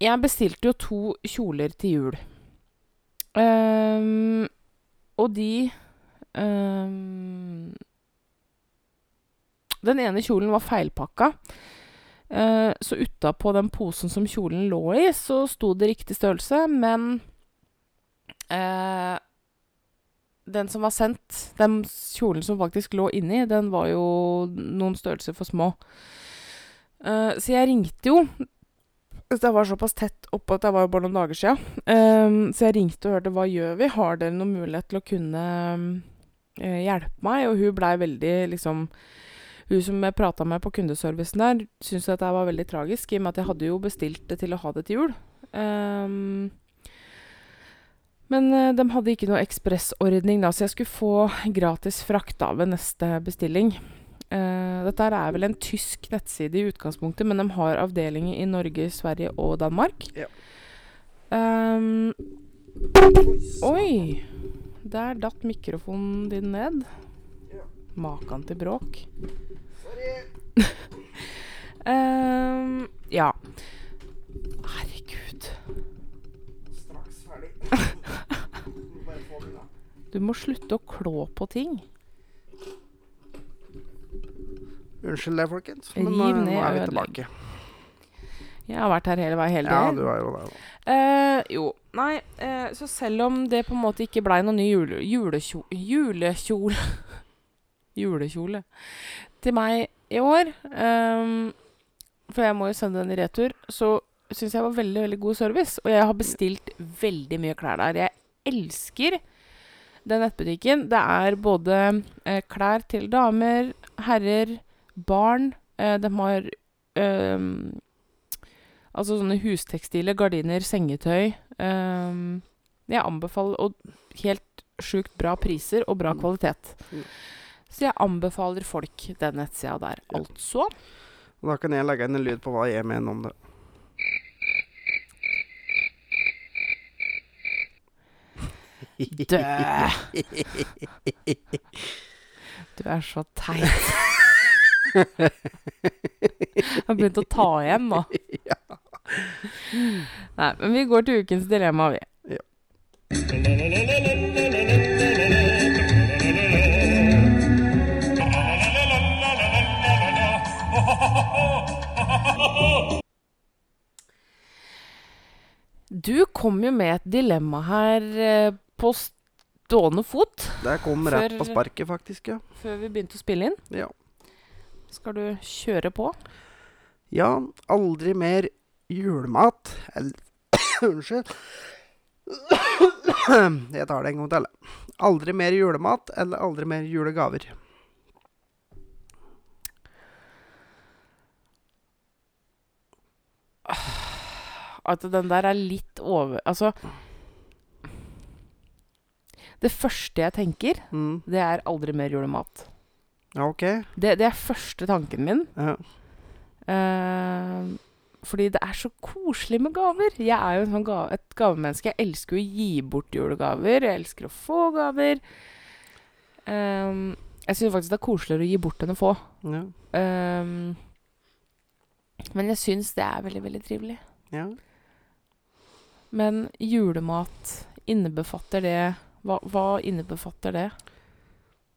B: jeg bestilte jo to kjoler til jul. Ehm, og de ehm, Den ene kjolen var feilpakka. Eh, så utapå den posen som kjolen lå i, så sto det riktig størrelse, men eh, Den som var sendt, den kjolen som faktisk lå inni, den var jo noen størrelser for små. Eh, så jeg ringte jo. Det var såpass tett oppå at det var jo bare noen dager siden. Eh, så jeg ringte og hørte hva gjør vi? Har dere noen mulighet til å kunne eh, hjelpe meg? Og hun blei veldig liksom hun som jeg prata med på kundeservicen der, syntes at det var veldig tragisk, i og med at jeg hadde jo bestilt det til å ha det til jul. Ehm, men eh, de hadde ikke noe ekspressordning, da, så jeg skulle få gratis frakt da ved neste bestilling. Eh, dette her er vel en tysk nettside i utgangspunktet, men de har avdelinger i Norge, Sverige og Danmark.
A: Ja.
B: Ehm, oi! Der datt mikrofonen din ned. Makan til bråk. Ehm, ja. Herregud.
A: Straks ferdig. Bare få den, da.
B: Du må slutte å klå på ting.
A: Unnskyld det, folkens,
B: Riv
A: men nå,
B: ned,
A: nå er vi
B: ødelegg.
A: tilbake.
B: Jeg har vært her hele veien.
A: Ja,
B: Hele dagen.
A: du er jo der, da.
B: Eh, jo. Nei, eh, så selv om det på en måte ikke blei noen ny jule, julekjole Julekjole Julekjole til meg i år, ehm, for jeg må jo sende den i retur, så syns jeg var veldig, veldig god service. Og jeg har bestilt veldig mye klær der. Jeg elsker den nettbutikken. Det er både eh, klær til damer, herrer, barn. Eh, de har ehm, Altså sånne hustekstiler, gardiner, sengetøy. Ehm, jeg anbefaler Og helt sjukt bra priser og bra
A: Mm.
B: kvalitet.
A: Mm.
B: Så jeg anbefaler folk den nettsida der,
A: Ja.
B: altså.
A: Og Da kan jeg legge inn en lyd på hva jeg mener om det.
B: Dø! Du er så teit. Jeg har begynt å ta igjen nå. Nei, men vi går til ukens dilemma, vi. Du kom jo med et dilemma her eh, på stående fot
A: Det kom rett
B: For-
A: på sparket, faktisk. Ja.
B: før vi begynte å spille inn.
A: ja.
B: Skal du kjøre på?
A: ja aldri mer julemat. Eller Unnskyld. Jeg tar det en gang til. Aldri mer julemat eller aldri mer julegaver.
B: At den der er litt over Altså Det første jeg tenker,
A: Mm.
B: det er aldri mer julemat.
A: Ja, OK.
B: Det, det er første tanken min.
A: Ja.
B: Eh, fordi det er så koselig med gaver. Jeg er jo en sånn ga et gavemenneske. Jeg elsker jo å gi bort julegaver. Jeg elsker å få gaver. Ehm, jeg syns faktisk det er koseligere å gi bort enn å få.
A: Ja.
B: Ehm, men jeg syns det er veldig, veldig trivelig.
A: ja.
B: Men julemat, innebefatter det Hva, hva innebefatter det?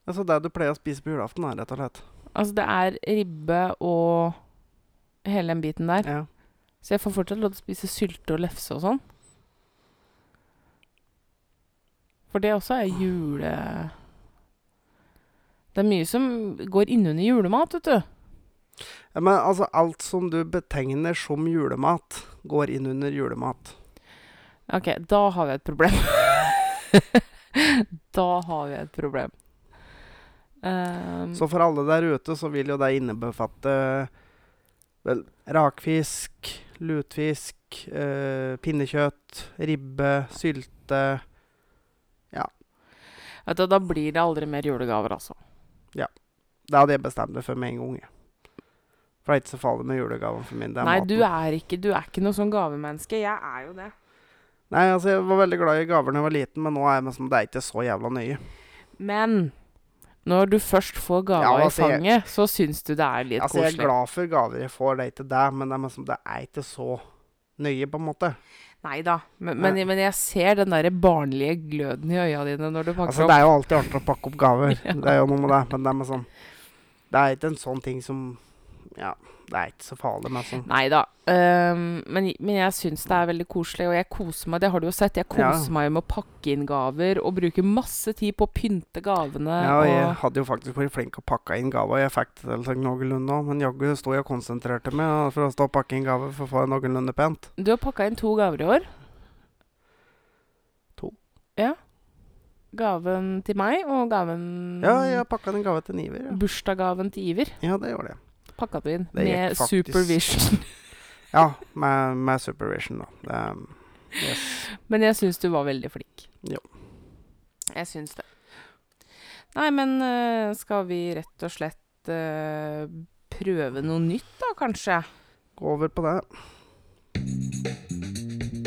A: Altså det du pleier å spise på julaften, da, rett og slett.
B: Altså, det er ribbe og hele den biten der.
A: Ja.
B: Så jeg får fortsatt lov til å spise sylte og lefse og sånn. For det også er jule... Det er mye som går innunder julemat, vet du.
A: Ja, Men altså, alt som du betegner som julemat, går inn under julemat.
B: Ok, da har vi et problem. da har vi et problem. Ehm,
A: Så for alle der ute, så vil jo det innebefatte vel, rakfisk, lutfisk, eh, pinnekjøtt, ribbe, sylte
B: vet du, da blir det aldri mer julegaver, altså.
A: Det hadde jeg bestemt meg for med en gang. jeg. For det er ikke så farlig med julegaven for min. Det er
B: Nei,
A: maten.
B: du er, ikke, du er ikke noe sånn gavemenneske. Jeg er jo det.
A: Nei, altså, jeg var veldig glad i gaver da jeg var liten, men nå er jeg med som det er ikke så jævla nøye.
B: Men når du først får gava
A: Ja,
B: i
A: altså, jeg-
B: fanget, så syns du det er litt
A: Altså, jeg er
B: koselig.
A: glad for gaver jeg får, det er ikke det, men det er, med som det er ikke så nøye, på en måte.
B: Nei da, men, men,
A: Nei.
B: men jeg ser den derre barnlige gløden i øya dine når du pakker
A: Altså,
B: opp.
A: det er jo alltid artig å pakke opp gaver. Det er jo noe med det. Men det er med sånn Det er ikke en sånn ting som Ja, det er ikke så farlig med sånn.
B: Nei da. men, men jeg syns det er veldig koselig, og jeg koser meg. Det har du jo sett. Jeg
A: Ja.
B: koser meg med å pakke inn gaver og bruke masse tid på å pynte gavene.
A: Ja, og jeg
B: og,
A: hadde jo faktisk vært flink til å pakke inn gaver. og Jeg fikk det til sånn noenlunde òg, men jaggu sto jeg og konsentrerte meg ja, for å stå og pakke inn gaver for å få det noenlunde pent.
B: Du har pakka inn to gaver i år.
A: To.
B: Ja. Gaven til meg og gaven
A: Ja,
B: Mm.
A: jeg pakka inn gave til Niver. Ja,
B: Bursdagsgaven til Iver
A: ja det gjorde jeg.
B: pakka du inn
A: Det gikk
B: med
A: faktisk-
B: supervision.
A: Ja, med, med supervision, da. Det, um, yes.
B: Men jeg syns du var veldig flink.
A: Ja.
B: Jeg syns det. Nei, men øh, skal vi rett og slett øh, prøve noe nytt, da, kanskje?
A: Gå over på det.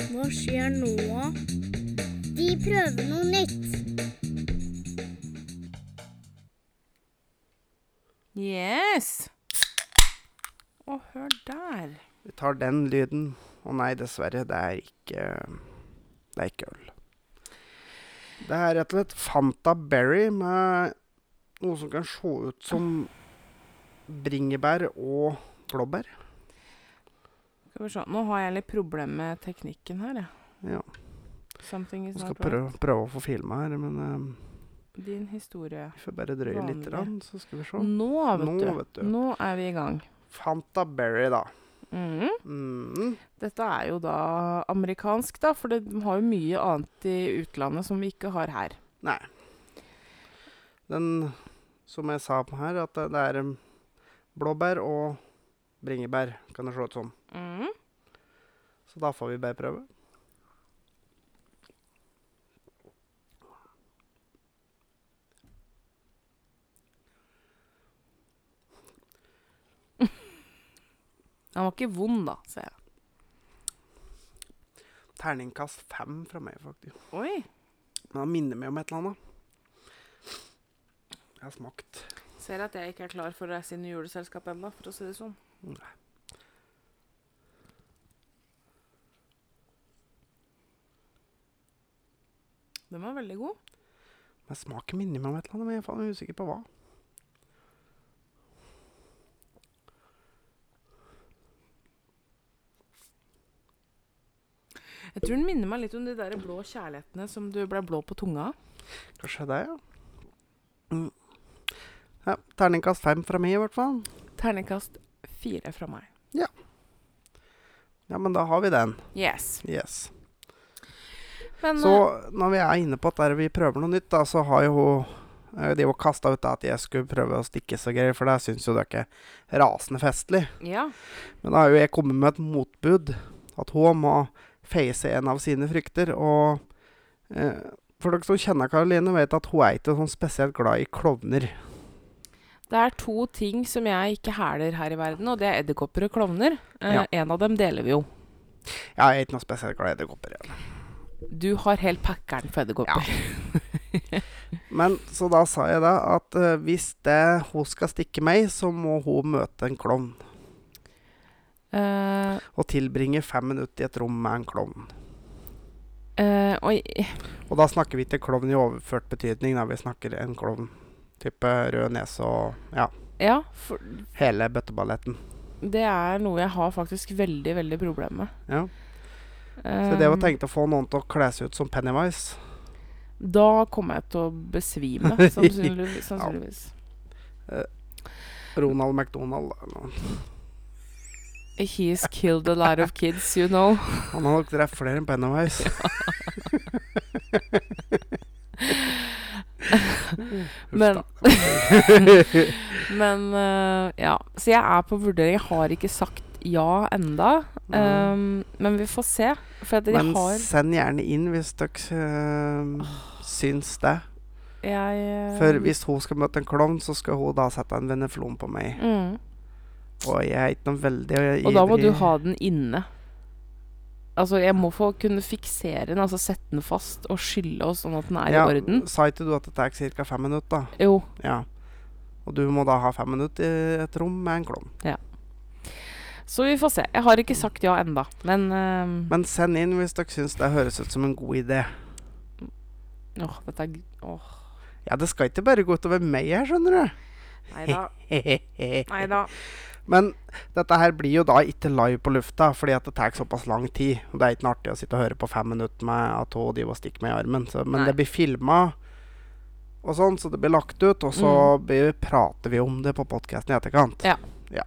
C: Hva skjer nå? De prøver noe nytt.
B: Yes! Å, hør der.
A: Vi tar den lyden. Å nei, dessverre. Det er ikke Det er ikke øl. Det er rett og slett Fanta Berry med noe som kan se ut som bringebær og blåbær.
B: Skal vi se. Nå har jeg litt problemer med teknikken her, jeg.
A: Ja.
B: Something is
A: Vi skal
B: not right.
A: prøve, prøve å få filma her, men eh,
B: Din historie.
A: vi får bare drøye litt,
B: Vanlig.
A: rann, så skal vi se.
B: Nå, vet
A: Nå,
B: du.
A: vet du.
B: Nå er vi i gang.
A: Fanta Berry, da.
B: Mhm.
A: Mm.
B: Dette er jo da amerikansk, da, for det- de har jo mye annet i utlandet som vi ikke har her.
A: Nei. Den, som jeg sa her, at det, det er eh, blåbær og bringebær, kan det se ut som.
B: Mm.
A: Så da får vi bare prøve.
B: Den var ikke vond, da, ser jeg.
A: Terningkast fem fra meg, faktisk.
B: Oi.
A: Men han minner meg om et eller annet. Jeg har smakt.
B: Ser at jeg ikke er klar for å reise inn i juleselskapet ennå, for å si det sånn. Den var veldig god.
A: Men smaken minner meg om et eller annet, men jeg er faen usikker på hva.
B: Jeg tror den minner meg litt om de der blå kjærlighetene som du ble blå på tunga av.
A: Kanskje det, ja. Mm. ja terningkast fem fra meg, i hvert fall.
B: Terningkast fire fra meg.
A: Ja, men da har vi den.
B: Yes.
A: Yes.
B: Men
A: Så når vi er inne på at der vi prøver noe nytt, da, så har jo hun eh, de var kasta ut da at jeg skulle prøve å stikke så greier, for det syns jo det er ikke rasende festlig.
B: eh, Ja.
A: Men da har jo jeg kommet med et motbud. At hun må face en av sine frykter. Og eh, for dere som kjenner Karoline, vet at hun er ikke sånn spesielt glad i klovner.
B: Det er to ting som jeg ikke hæler her i verden, og det er edderkopper og klovner. Eh,
A: Ja.
B: En av dem deler vi jo.
A: Ja, jeg er ikke noe spesielt glad i edderkopper. jeg.
B: Du har helt packeren for edderkopper.
A: Men så da sa jeg da at eh, hvis det, hun skal stikke meg, så må hun møte en klovn.
B: Eh,
A: Og tilbringe fem minutter i et rom med en klovn.
B: eh, og
A: Og da snakker vi ikke klovn i overført betydning, da vi snakker en klovn. Type rød nese og ja,
B: ja, for
A: hele bøtteballetten.
B: det er noe jeg har faktisk veldig, veldig problemer med.
A: Ja. Så det var
B: Eh,
A: tenkt å få noen til å kle seg ut som Pennywise.
B: Da kommer jeg til å besvime, sannsynligvis. sannsynligvis.
A: Ronald McDonald. eller noe.
B: He's killed a lot of kids, you know.
A: Han har nok drept flere enn Pennywise. Uff
B: Men,
A: da.
B: men eh, ja. Så jeg er på vurdering. Jeg har ikke sagt ja enda.
A: Mm.
B: Um, men vi får se. For at jeg
A: Men
B: har
A: send gjerne inn hvis dere eh, syns det.
B: jeg, eh,
A: For hvis hun skal møte en klovn, så skal hun da sette en veneflon på meg.
B: mm.
A: Og jeg er ikke noen veldig ivrig
B: Og da må du ha den inne. Altså, jeg må få kunne fiksere den, altså sette den fast og skylle oss sånn at den er
A: Ja,
B: i orden.
A: Sa ikke du at det tar ca. fem minutter? da?
B: Jo.
A: Ja. Og du må da ha fem minutter i et rom med en klovn.
B: Så vi får se. Jeg har ikke sagt ja enda, men, eh,
A: Men send inn hvis dere syns det høres ut som en god idé.
B: Åh, dette er g- Åh.
A: Ja, det skal ikke bare gå utover meg her, skjønner
B: Nei da.
A: du.
B: Nei da.
A: Men dette her blir jo da ikke live på lufta, fordi at det tar såpass lang tid. Og det er ikke noe artig å sitte og høre på fem minutter med at hun driver og stikker meg i armen. Så, men
B: Nei.
A: det blir filma, og sånn, så det blir lagt ut. Og så blir, prater vi om det på podkasten i etterkant.
B: Mm. Ja.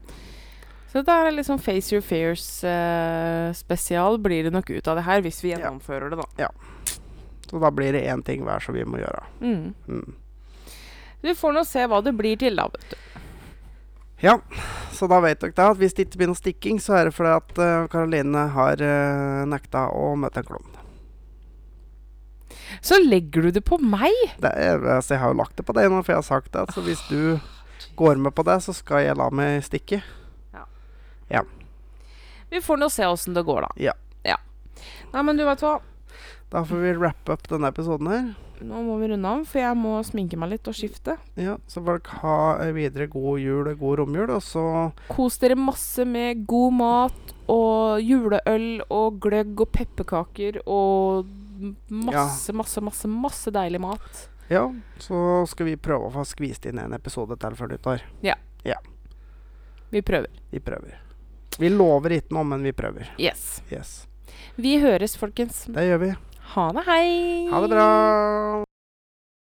B: Så dette er litt sånn Face Your Fears-spesial blir det nok ut av det her, hvis vi
A: Ja.
B: gjennomfører det, da.
A: Så da blir det én ting hver som vi må gjøre.
B: Mm.
A: Mm.
B: Vi får nå se hva det blir til, da, vet du.
A: Ja, så da vet dere da at hvis det ikke blir noe stikking, så er det fordi at eh, Karoline har eh, nekta å møte en klovn.
B: Så legger du det på meg!
A: Det er, altså, jeg har jo lagt det på deg nå, for jeg har sagt det. Så hvis du går med på det, så skal jeg la meg stikke.
B: Vi får nå se åssen det går, da.
A: Ja.
B: ja. Nei, men du vet hva.
A: Da får vi wrappe opp denne episoden her.
B: Nå må vi runde av, for jeg må sminke meg litt og skifte.
A: Ja, så får dere ha ei videre god jul og god romjul, og så
B: Kos dere masse med god mat og juleøl og gløgg og pepperkaker og m- masse, masse, masse, masse deilig mat.
A: Ja, så skal vi prøve å få skvist inn en episode til før nyttår.
B: Vi prøver.
A: Vi prøver. Vi lover ikke noe, men vi prøver.
B: Yes.
A: Yes.
B: Vi høres, folkens.
A: Det gjør vi.
B: Ha det, hei!
A: Ha det bra.